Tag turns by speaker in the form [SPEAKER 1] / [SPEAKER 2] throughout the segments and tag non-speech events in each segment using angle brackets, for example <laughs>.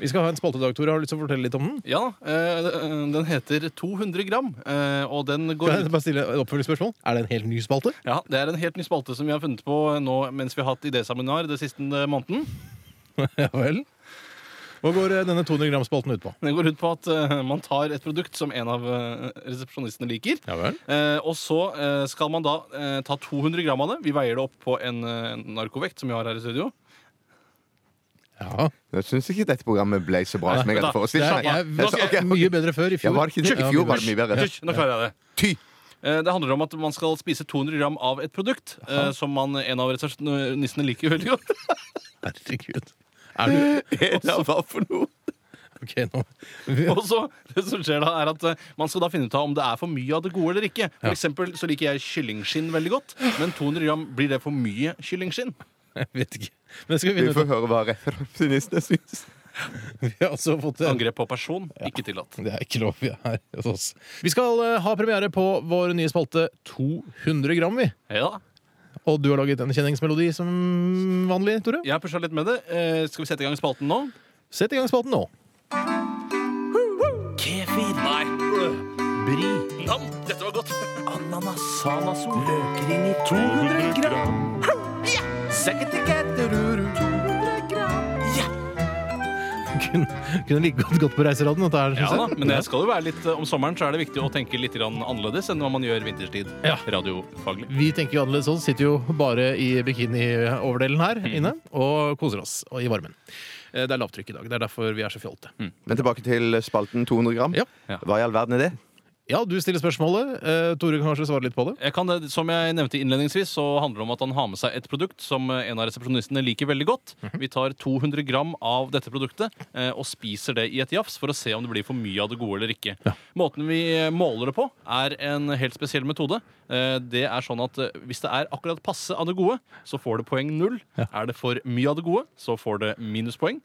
[SPEAKER 1] Vi skal ha en spaltedag, Tore. Har du lyst til å fortelle litt om den?
[SPEAKER 2] Ja, eh, den heter 200 gram, eh, og den
[SPEAKER 1] Kan
[SPEAKER 2] går
[SPEAKER 1] jeg
[SPEAKER 2] ut
[SPEAKER 1] bare stille et oppfølgingsspørsmål? Er det en helt ny spalte?
[SPEAKER 2] ja, Det er en helt ny spalte som vi har funnet på nå mens vi har hatt idéseminar den siste eh, måneden.
[SPEAKER 1] Ja vel. Hva går eh, denne 200 gram-spalten ut på?
[SPEAKER 2] Den går ut på at eh, man tar et produkt som en av eh, resepsjonistene liker.
[SPEAKER 1] Ja vel.
[SPEAKER 2] Eh, og så eh, skal man da eh, ta 200 gram av det. Vi veier det opp på en eh, narkovekt som vi har her i studio.
[SPEAKER 1] Ja.
[SPEAKER 3] Jeg syns ikke dette programmet ble så bra som jeg hadde
[SPEAKER 1] Det
[SPEAKER 3] forestilt
[SPEAKER 1] er,
[SPEAKER 3] meg.
[SPEAKER 1] jeg,
[SPEAKER 2] Nå skal jeg-
[SPEAKER 1] er mye bedre før i
[SPEAKER 3] Ja,
[SPEAKER 1] fjor.
[SPEAKER 3] var det ikke det? I fjor var det mye bedre.
[SPEAKER 2] Hysj, nå klarer jeg det.
[SPEAKER 3] Ty!
[SPEAKER 2] Eh, Det handler om at man skal spise 200 gram av et produkt eh, som man, en av resepsjonistene liker
[SPEAKER 3] <laughs>
[SPEAKER 2] veldig godt.
[SPEAKER 1] Herregud. Er du
[SPEAKER 3] Ja, hva for noe?
[SPEAKER 1] <laughs> Ok, nå. <laughs> Vi-
[SPEAKER 2] <laughs> Og så, det som skjer da, er at eh, man skal da finne ut av om det er for mye av det gode eller ikke. For eksempel så liker jeg kyllingskinn veldig godt, men 200 gram, blir det for mye kyllingskinn?
[SPEAKER 1] Jeg vet ikke. Men det skal vi
[SPEAKER 3] Vi
[SPEAKER 1] finne ut.
[SPEAKER 3] får høre hva resepsjonistene syns.
[SPEAKER 1] av. Vi har også fått en
[SPEAKER 2] Angrep på person, ikke tillatt.
[SPEAKER 1] Det er ikke lov vi er her hos oss. Vi skal eh, ha premiere på vår nye spalte 200 gram, vi.
[SPEAKER 2] Ja,
[SPEAKER 1] Og du har laget en kjenningsmelodi som vanlig, Tore.
[SPEAKER 2] jeg har pusha litt med det. Eh, Skal vi sette i gang spalten nå?
[SPEAKER 1] Sett i gang spalten nå. <laughs>
[SPEAKER 4] Kefir. Nei. Bri. Nam. Dette var godt. Ananas. Samasol. Løkringer. 200 gram. Ja. Sekketiketteruru. 200 gram. Ja.
[SPEAKER 1] Kunne, kunne like godt gått på reiseradioen. dette her,
[SPEAKER 2] Ja
[SPEAKER 1] synes
[SPEAKER 2] da,
[SPEAKER 1] jeg.
[SPEAKER 2] men det skal jo være litt eh, om sommeren så er det viktig å tenke litt grann annerledes enn hva man gjør vinterstid
[SPEAKER 1] Ja.
[SPEAKER 2] radiofaglig.
[SPEAKER 1] Vi tenker jo annerledes sånn. Sitter jo bare i bikinioverdelen her inne og koser oss og i varmen. Eh, Det er lavtrykk i dag. Det er derfor vi er så fjolte.
[SPEAKER 3] Men tilbake til spalten 200 gram.
[SPEAKER 1] Ja.
[SPEAKER 2] Ja.
[SPEAKER 3] Hva i all verden er det?
[SPEAKER 1] ja, du stiller spørsmålet. Eh, Tore kan kanskje svare litt på det.
[SPEAKER 2] Jeg kan, det- som jeg nevnte innledningsvis, så handler det om at han har med seg et produkt som eh, en av resepsjonistene liker veldig godt. Vi tar 200 gram av dette produktet eh, og spiser det i et jafs for å se om det blir for mye av det gode eller ikke. Måten vi eh, måler det på, er en helt spesiell metode. Eh, Det er sånn at eh, hvis det er akkurat passe av det gode, så får det poeng null. Er det for mye av det gode, så får det minuspoeng.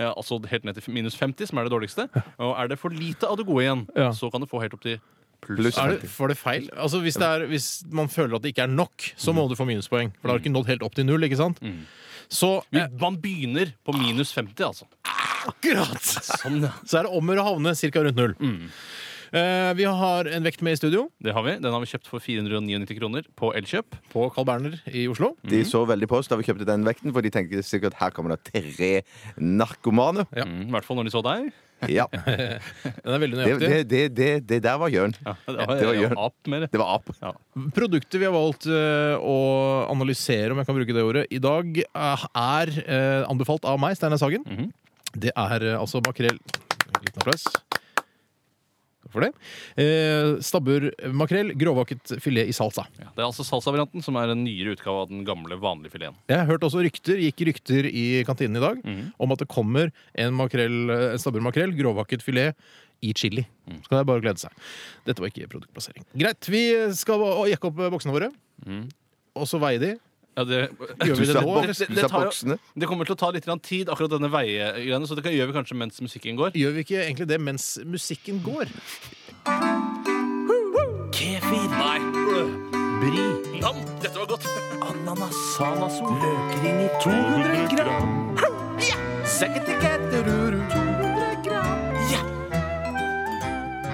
[SPEAKER 2] Eh, Altså helt ned til minus 50, som er det dårligste. Og er det for lite av det gode igjen,
[SPEAKER 1] Ja.
[SPEAKER 2] så kan det få helt opp til
[SPEAKER 3] Pluss
[SPEAKER 1] Er det, var det feil? Altså hvis, det er, hvis man føler at det ikke er nok, så
[SPEAKER 3] Mm.
[SPEAKER 1] må du få minuspoeng. For da har du ikke nådd helt opp til null. ikke sant? Så eh,
[SPEAKER 2] Vi, man begynner på minus 50, altså.
[SPEAKER 1] akkurat
[SPEAKER 2] Sånn, ja.
[SPEAKER 1] så er det om å gjøre å havne ca. rundt null. Eh, vi har en vekt med i studio
[SPEAKER 2] Det har vi. Den har vi kjøpt for 499 kroner på Elkjøp.
[SPEAKER 1] på Carl Berner i Oslo.
[SPEAKER 3] De så veldig på oss da vi kjøpte den vekten, for de tenkte sikkert her kommer det tre narkomane.
[SPEAKER 1] Ja.
[SPEAKER 2] Mm, I hvert fall når de så deg.
[SPEAKER 3] Ja,
[SPEAKER 1] Den er veldig
[SPEAKER 3] Det,
[SPEAKER 1] nøyaktig.
[SPEAKER 3] det, det, det, det der var Jørn.
[SPEAKER 2] Ja, det
[SPEAKER 3] det var Jørn.
[SPEAKER 2] ap mer.
[SPEAKER 3] Det var ap.
[SPEAKER 1] Produktet vi har valgt eh, å analysere, om jeg kan bruke det ordet, i dag, eh, er eh, anbefalt av meg, Steinar Sagen. Det er eh, altså makrell Liten applaus. Takk For det. Eh, stabbur makrell, gråvakket filet i salsa.
[SPEAKER 2] Ja, det er altså salsavarianten som er en nyere utgave av den gamle vanlige fileten.
[SPEAKER 1] Jeg hørte også rykter, gikk rykter i kantinen i dag, om at det kommer en, makrell, eh, en stabbur makrell, gråvakket filet, i chili. Så kan jeg bare glede seg. Dette var ikke produktplassering. Greit, vi skal å- jekke opp boksene våre, og så veie de.
[SPEAKER 2] Ja, det,
[SPEAKER 1] Gjør vi
[SPEAKER 3] Du
[SPEAKER 1] det
[SPEAKER 3] sa
[SPEAKER 1] nå?
[SPEAKER 3] boks-
[SPEAKER 2] Det- det-
[SPEAKER 3] du
[SPEAKER 2] det
[SPEAKER 3] sa
[SPEAKER 2] tar jo-
[SPEAKER 3] boksene.
[SPEAKER 2] det kommer til å ta litt grann tid, akkurat denne veiegreiene, så det kan, gjør vi kanskje mens musikken går.
[SPEAKER 1] Gjør vi ikke egentlig det mens musikken går?
[SPEAKER 4] Kefir. Nei. Bri. Nam. Dette var godt. Ananas. Samasol. Løkringer. 200 gram. Ja. Sekketiketteruru. 200 gram. Ja.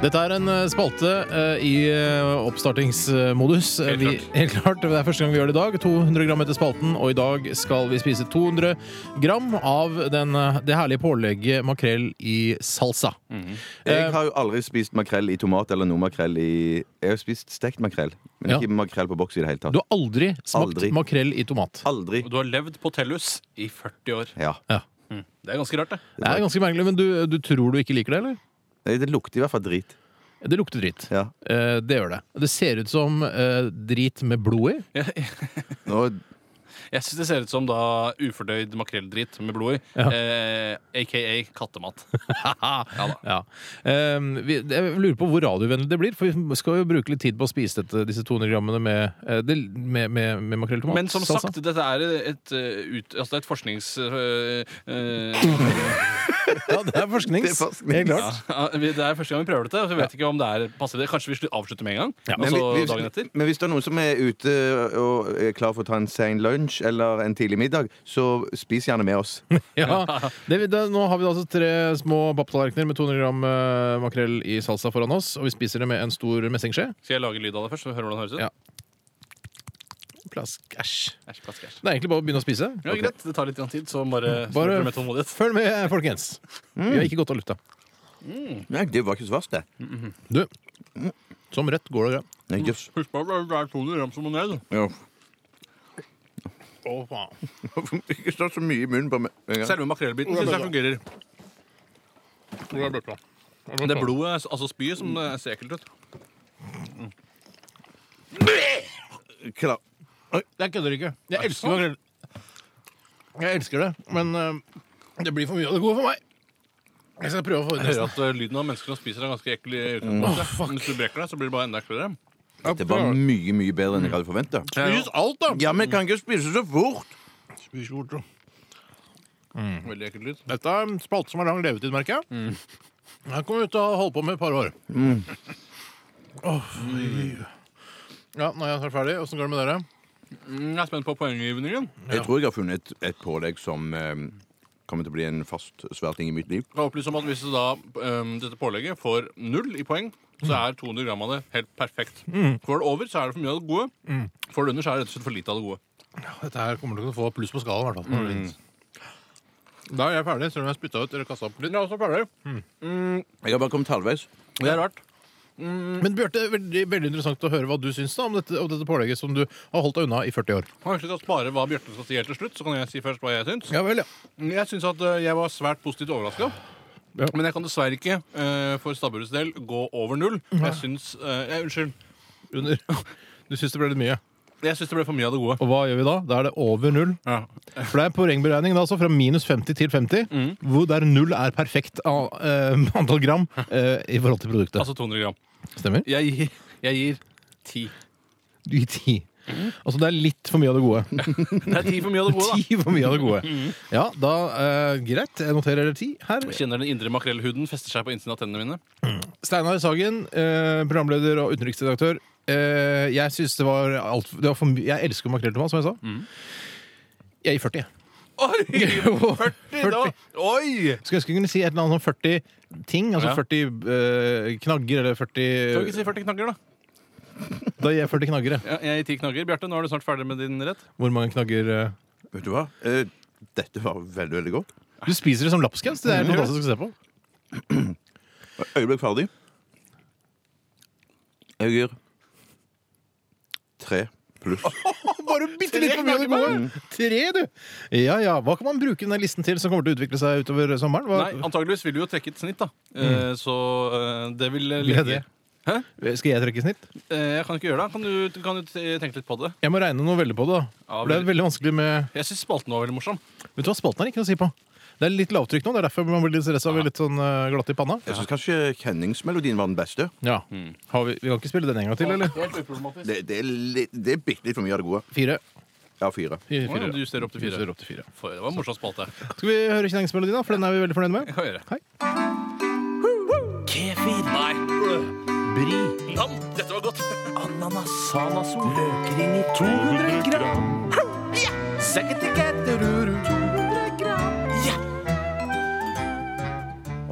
[SPEAKER 1] Dette er en eh, spalte eh, i eh, oppstartingsmodus.
[SPEAKER 2] Helt
[SPEAKER 1] vi, <laughs>
[SPEAKER 2] klart.
[SPEAKER 1] helt klart. Det er første gang vi gjør det i dag. 200 gram etter spalten, og i dag skal vi spise 200 gram av den, eh, det herlige pålegget makrell i salsa.
[SPEAKER 3] Jeg har jo aldri spist makrell i tomat eller noe makrell i Jeg har spist stekt makrell, men
[SPEAKER 1] Ja.
[SPEAKER 3] ikke makrell på boks i det hele tatt.
[SPEAKER 1] Du har aldri smakt
[SPEAKER 3] Aldri.
[SPEAKER 1] makrell i tomat.
[SPEAKER 3] Aldri.
[SPEAKER 2] Og du har levd på Tellus i 40 år.
[SPEAKER 3] Ja.
[SPEAKER 1] Ja.
[SPEAKER 2] Det er ganske rart, det.
[SPEAKER 1] Det er ganske merkelig, men du, du tror du ikke liker det, eller?
[SPEAKER 3] Nei, Det lukter i hvert fall drit.
[SPEAKER 1] Det lukter drit.
[SPEAKER 3] Ja.
[SPEAKER 1] Eh, det gjør det. Det ser ut som eh, drit med blod i.
[SPEAKER 2] Jeg,
[SPEAKER 3] Nå,
[SPEAKER 2] jeg syns det ser ut som da ufordøyd makrelldrit med blod i.
[SPEAKER 1] Ja.
[SPEAKER 2] Eh, AKA kattemat. Ja da.
[SPEAKER 1] Ja. Eh, vi, jeg lurer på hvor radiovennlig det blir, for vi skal jo bruke litt tid på å spise dette, disse 200 grammene med, eh, det, med, med, med makrell i tomat.
[SPEAKER 2] Men som
[SPEAKER 1] salsa.
[SPEAKER 2] sagt, dette er et, eh, ut, altså det er et forsknings... øh, øh,
[SPEAKER 1] Ja, <laughs> det er forsknings.
[SPEAKER 3] Det er forsknings.
[SPEAKER 1] Helt klart.
[SPEAKER 2] ja, vi- det er første gang vi prøver dette. Så vi vet ikke om det er passer det. Kanskje vi slu- avslutter med en gang?
[SPEAKER 1] Ja.
[SPEAKER 2] Og
[SPEAKER 3] men,
[SPEAKER 2] så
[SPEAKER 3] vi- vi-
[SPEAKER 2] dagen Altså etter?
[SPEAKER 3] men hvis det er noen som er ute og er klar for å ta en sein lunsj lunsj eller en tidlig middag, så spis gjerne med oss.
[SPEAKER 1] <laughs> Ja. Det, vi- da, nå har vi da altså tre små papptallerkener med 200 gram eh, makrell i salsa foran oss, og vi spiser det med en stor messingskje.
[SPEAKER 2] Skal jeg lage lyd av det først? så vi hører hvordan det høres ut?
[SPEAKER 1] Ja. Plask, æsj.
[SPEAKER 2] Æsj, plask, æsj.
[SPEAKER 1] Det er egentlig bare å begynne å spise.
[SPEAKER 2] Ja, greit. Det tar litt grann tid, så bare,
[SPEAKER 1] Bare-
[SPEAKER 2] bare... med tålmodighet.
[SPEAKER 1] Følg med, folkens. Vi har ikke gått av lufta.
[SPEAKER 3] Nei, det var ikke så verst, det.
[SPEAKER 1] Du, som rødt går det greit.
[SPEAKER 3] Nei, jøss.
[SPEAKER 2] Husk på at det er 200 gram salmonell.
[SPEAKER 3] Ja. <laughs>
[SPEAKER 1] Å, faen.
[SPEAKER 3] Ikke stå så mye i munnen på meg. en gang.
[SPEAKER 2] Selve makrellbiten syns jeg fungerer. Det blodet, altså spyet, som eh, ser ekkelt ut.
[SPEAKER 3] Klar.
[SPEAKER 1] Jeg kødder ikke. Jeg elsker makrell. Jeg elsker det, men eh, det blir for mye av det gode for meg. Jeg skal prøve å få ut
[SPEAKER 2] Jeg hører
[SPEAKER 1] resten.
[SPEAKER 2] at eh, lyden av mennesker som spiser, er ganske ekkel. i utgangspunktet. Men Hvis du brekker deg, så blir det bare enda eklere.
[SPEAKER 3] Det var mye, mye bedre enn jeg hadde forventa.
[SPEAKER 1] Spis alt, da!
[SPEAKER 3] Ja, men jeg kan ikke spise så fort!
[SPEAKER 1] Spis bort, da.
[SPEAKER 2] Veldig ekkel lyd.
[SPEAKER 1] Dette er en spalte som har lang levetid, merker jeg. Her kommer vi til å holde på med et par år. Åh, fy. ja, nå er jeg snart ferdig. Åssen går det med dere?
[SPEAKER 2] Mm, Jeg er spent på poenggivningen.
[SPEAKER 3] Jeg tror jeg har funnet et, et pålegg som eh, kommer til å bli en fast svær ting i mitt liv.
[SPEAKER 2] Jeg opplyser om at Hvis du da eh, dette pålegget får null i poeng, så er 200 gram av det helt perfekt.
[SPEAKER 1] Mm.
[SPEAKER 2] Får det over, så er det for mye av det gode. Får det under, så er det rett og slett for lite av det gode.
[SPEAKER 1] Dette her kommer til å få pluss på skalaen. i hvert fall. Da er jeg ferdig, selv om jeg spytta ut eller kasta opp Mm. litt.
[SPEAKER 2] Ja, så ferdig.
[SPEAKER 3] Jeg har bare kommet halvveis.
[SPEAKER 2] Det er rart.
[SPEAKER 1] Mm. Men Bjarte, veldig, veldig interessant å høre hva du syns da om dette, om dette pålegget som du har holdt deg unna i 40 år.
[SPEAKER 2] Kanskje vi skal spare hva Bjarte skal si helt til slutt, så kan jeg si først hva jeg syns.
[SPEAKER 1] Ja vel, ja.
[SPEAKER 2] Jeg syns at eh, jeg var svært positivt overraska.
[SPEAKER 1] Ja.
[SPEAKER 2] Men jeg kan dessverre ikke eh, for stabburets del gå over null. Jeg syns eh, jeg- Unnskyld.
[SPEAKER 1] Under. Du syns det ble litt mye.
[SPEAKER 2] Jeg syns det ble for mye av det gode.
[SPEAKER 1] Og hva gjør vi da? Da er det over null. For det er poengberegning da, altså fra minus 50 til 50,
[SPEAKER 2] Mm.
[SPEAKER 1] hvor der null er perfekt av, eh, <laughs> antall gram eh, i forhold til produktet.
[SPEAKER 2] Altså 200 gram.
[SPEAKER 1] Stemmer?
[SPEAKER 2] Jeg gir, jeg gir 10.
[SPEAKER 1] Du gir ti. Altså det er litt for mye av det
[SPEAKER 2] <laughs>
[SPEAKER 1] gode.
[SPEAKER 2] Det er 10 for mye av det gode, Mm. da. Mm.
[SPEAKER 1] Ti for mye av det gode. Ja, da eh, greit. Jeg noterer ti her.
[SPEAKER 2] Jeg kjenner den indre makrellhuden fester seg på innsiden av tennene mine.
[SPEAKER 1] Steinar Sagen, eh, programleder og utenriksredaktør. Eh, jeg syns det var alt det var for mye Jeg elsker makrell til mat, som jeg sa.
[SPEAKER 2] Mm.
[SPEAKER 1] Jeg gir 40. jeg.
[SPEAKER 2] <laughs> Oi! 40, da.
[SPEAKER 1] 40.
[SPEAKER 2] Oi!
[SPEAKER 1] Skulle ønske jeg kunne si et eller annet sånn 40 ting. Altså
[SPEAKER 2] Ja.
[SPEAKER 1] 40 eh, knagger eller
[SPEAKER 2] Kan vi ikke
[SPEAKER 1] 40
[SPEAKER 2] si 40 knagger, da?
[SPEAKER 1] Da gir jeg 40 knaggere.
[SPEAKER 2] Ja, jeg gir 10 knagger. Bjarte, nå er du snart ferdig med din rett.
[SPEAKER 1] Hvor mange knagger eh?
[SPEAKER 3] Vet du hva? Eh, dette var veldig, veldig godt.
[SPEAKER 1] Du spiser det som lapskaus. Det
[SPEAKER 2] Mm.
[SPEAKER 1] er fantastisk å se
[SPEAKER 2] <laughs>
[SPEAKER 1] på.
[SPEAKER 3] Øyeblikk ferdig. Jeg gir tre pluss.
[SPEAKER 1] Bare bitte litt for mye av det gode! Tre, du! Ja ja. Hva kan man bruke denne listen til som kommer til å utvikle seg utover sommeren? Hva, Mm.
[SPEAKER 2] Nei, antageligvis vil du jo trekke et snitt, da. Eh, Så eh, det vil eh,
[SPEAKER 1] Vil jeg
[SPEAKER 2] ligge
[SPEAKER 1] det? Skal jeg trekke snitt?
[SPEAKER 2] Eh, Jeg kan ikke gjøre det. Kan du, kan du t- tenke litt på det?
[SPEAKER 1] Jeg må regne noe veldig på det. da.
[SPEAKER 2] Ja,
[SPEAKER 1] For det er veldig vanskelig med
[SPEAKER 2] Jeg syns spalten var veldig morsom.
[SPEAKER 1] Vet du hva, spalten er ikke noe å si på. Det er litt lavtrykk nå. Det er derfor man blir litt stressa og blir litt sånn eh, glatt i panna.
[SPEAKER 3] Jeg syns kanskje kjenningsmelodien var den beste.
[SPEAKER 1] Ja.
[SPEAKER 2] Mm.
[SPEAKER 1] Har vi, vi kan ikke spille den en gang til, eller?
[SPEAKER 2] Helt uproblematisk.
[SPEAKER 3] Det, det, er, litt, det er bitte litt for mye av det gode.
[SPEAKER 1] Fire.
[SPEAKER 3] Ja, fire.
[SPEAKER 1] Fire,
[SPEAKER 2] Å, ja, du justerer opp til fire.
[SPEAKER 1] Justerer opp til fire.
[SPEAKER 2] For- Det var en morsom spalte.
[SPEAKER 1] Skal vi høre kjenningsmelodien, da? For den er vi veldig fornøyd med.
[SPEAKER 2] Jeg kan gjøre.
[SPEAKER 1] Hei.
[SPEAKER 4] Kefir. Nei. Bri. Dam. Dette var godt. Ananas. Sanaso. Løkring i 200 gram. Ja. Sekketiketteruru. 200 gram. Ja.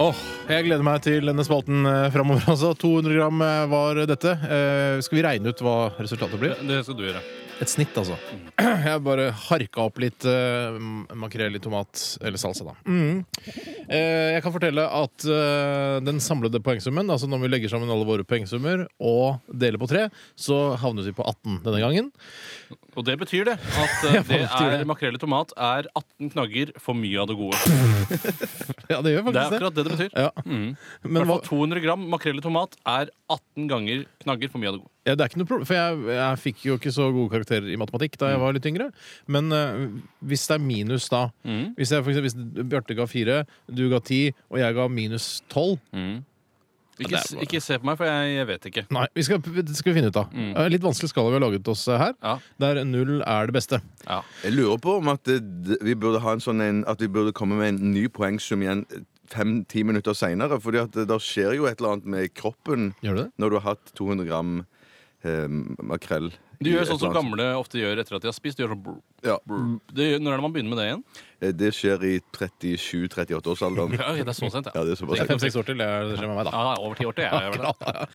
[SPEAKER 1] Åh, Jeg gleder meg til denne spalten eh, framover. Altså. 200 gram eh, var dette. Eh, skal vi regne ut hva resultatet blir?
[SPEAKER 2] Det skal du gjøre.
[SPEAKER 1] Et snitt, altså. <clears throat> Jeg bare harka opp litt eh, makrell i tomat eller salsa, da. Mm. Eh, jeg kan fortelle at eh, den samlede poengsummen, altså når vi legger sammen alle våre poengsummer og deler på tre, så havner vi på 18 denne gangen.
[SPEAKER 2] Og det betyr det at eh, det
[SPEAKER 1] betyr
[SPEAKER 2] er
[SPEAKER 1] det?
[SPEAKER 2] makrell i tomat er 18 knagger for mye av det gode.
[SPEAKER 1] Ja, det gjør
[SPEAKER 2] Det er
[SPEAKER 1] faktisk det.
[SPEAKER 2] akkurat det det betyr.
[SPEAKER 1] Ja.
[SPEAKER 2] I
[SPEAKER 1] Men
[SPEAKER 2] hvert
[SPEAKER 1] hva,
[SPEAKER 2] fall 200 gram makrell i tomat er 18 ganger knagger for mye av det gode.
[SPEAKER 1] ja, det er ikke noe problem, for jeg, jeg fikk jo ikke så gode karakterer i matematikk da jeg var litt yngre. Men eh, hvis det er minus da Hvis, jeg, for eksempel, hvis Bjarte ga fire, du ga ti, og jeg ga minus tolv
[SPEAKER 2] Ikke, s- ikke se på meg, for jeg vet ikke.
[SPEAKER 1] Nei, vi skal, det skal vi finne ut av. Eh, Litt vanskelig skala vi har laget oss her.
[SPEAKER 2] Ja.
[SPEAKER 1] Der null er det beste.
[SPEAKER 2] Ja.
[SPEAKER 3] Jeg lurer på om at, det, vi burde ha en sånn en, at vi burde komme med en ny poengsum igjen eh, fem-ti eh, minutter seinere. For det der skjer jo et eller annet med kroppen
[SPEAKER 1] Gjør du det?
[SPEAKER 3] når du har hatt 200 gram eh, makrell.
[SPEAKER 2] Du
[SPEAKER 3] i
[SPEAKER 2] gjør
[SPEAKER 3] et
[SPEAKER 2] sånn som
[SPEAKER 3] eller annet.
[SPEAKER 2] gamle ofte gjør etter at de har spist. Du gjør sånn brr,
[SPEAKER 3] Ja.
[SPEAKER 2] brr. Det, gjør- Når er det man begynner med det igjen?
[SPEAKER 3] Eh, Det skjer i 37-38-årsalderen.
[SPEAKER 2] Ja, ok, det er så sent,
[SPEAKER 3] Ja, det er såpass.
[SPEAKER 1] Fem-seks år til, det skjer med meg, da.
[SPEAKER 2] Ja, over ti år til. Jeg, jeg, jeg,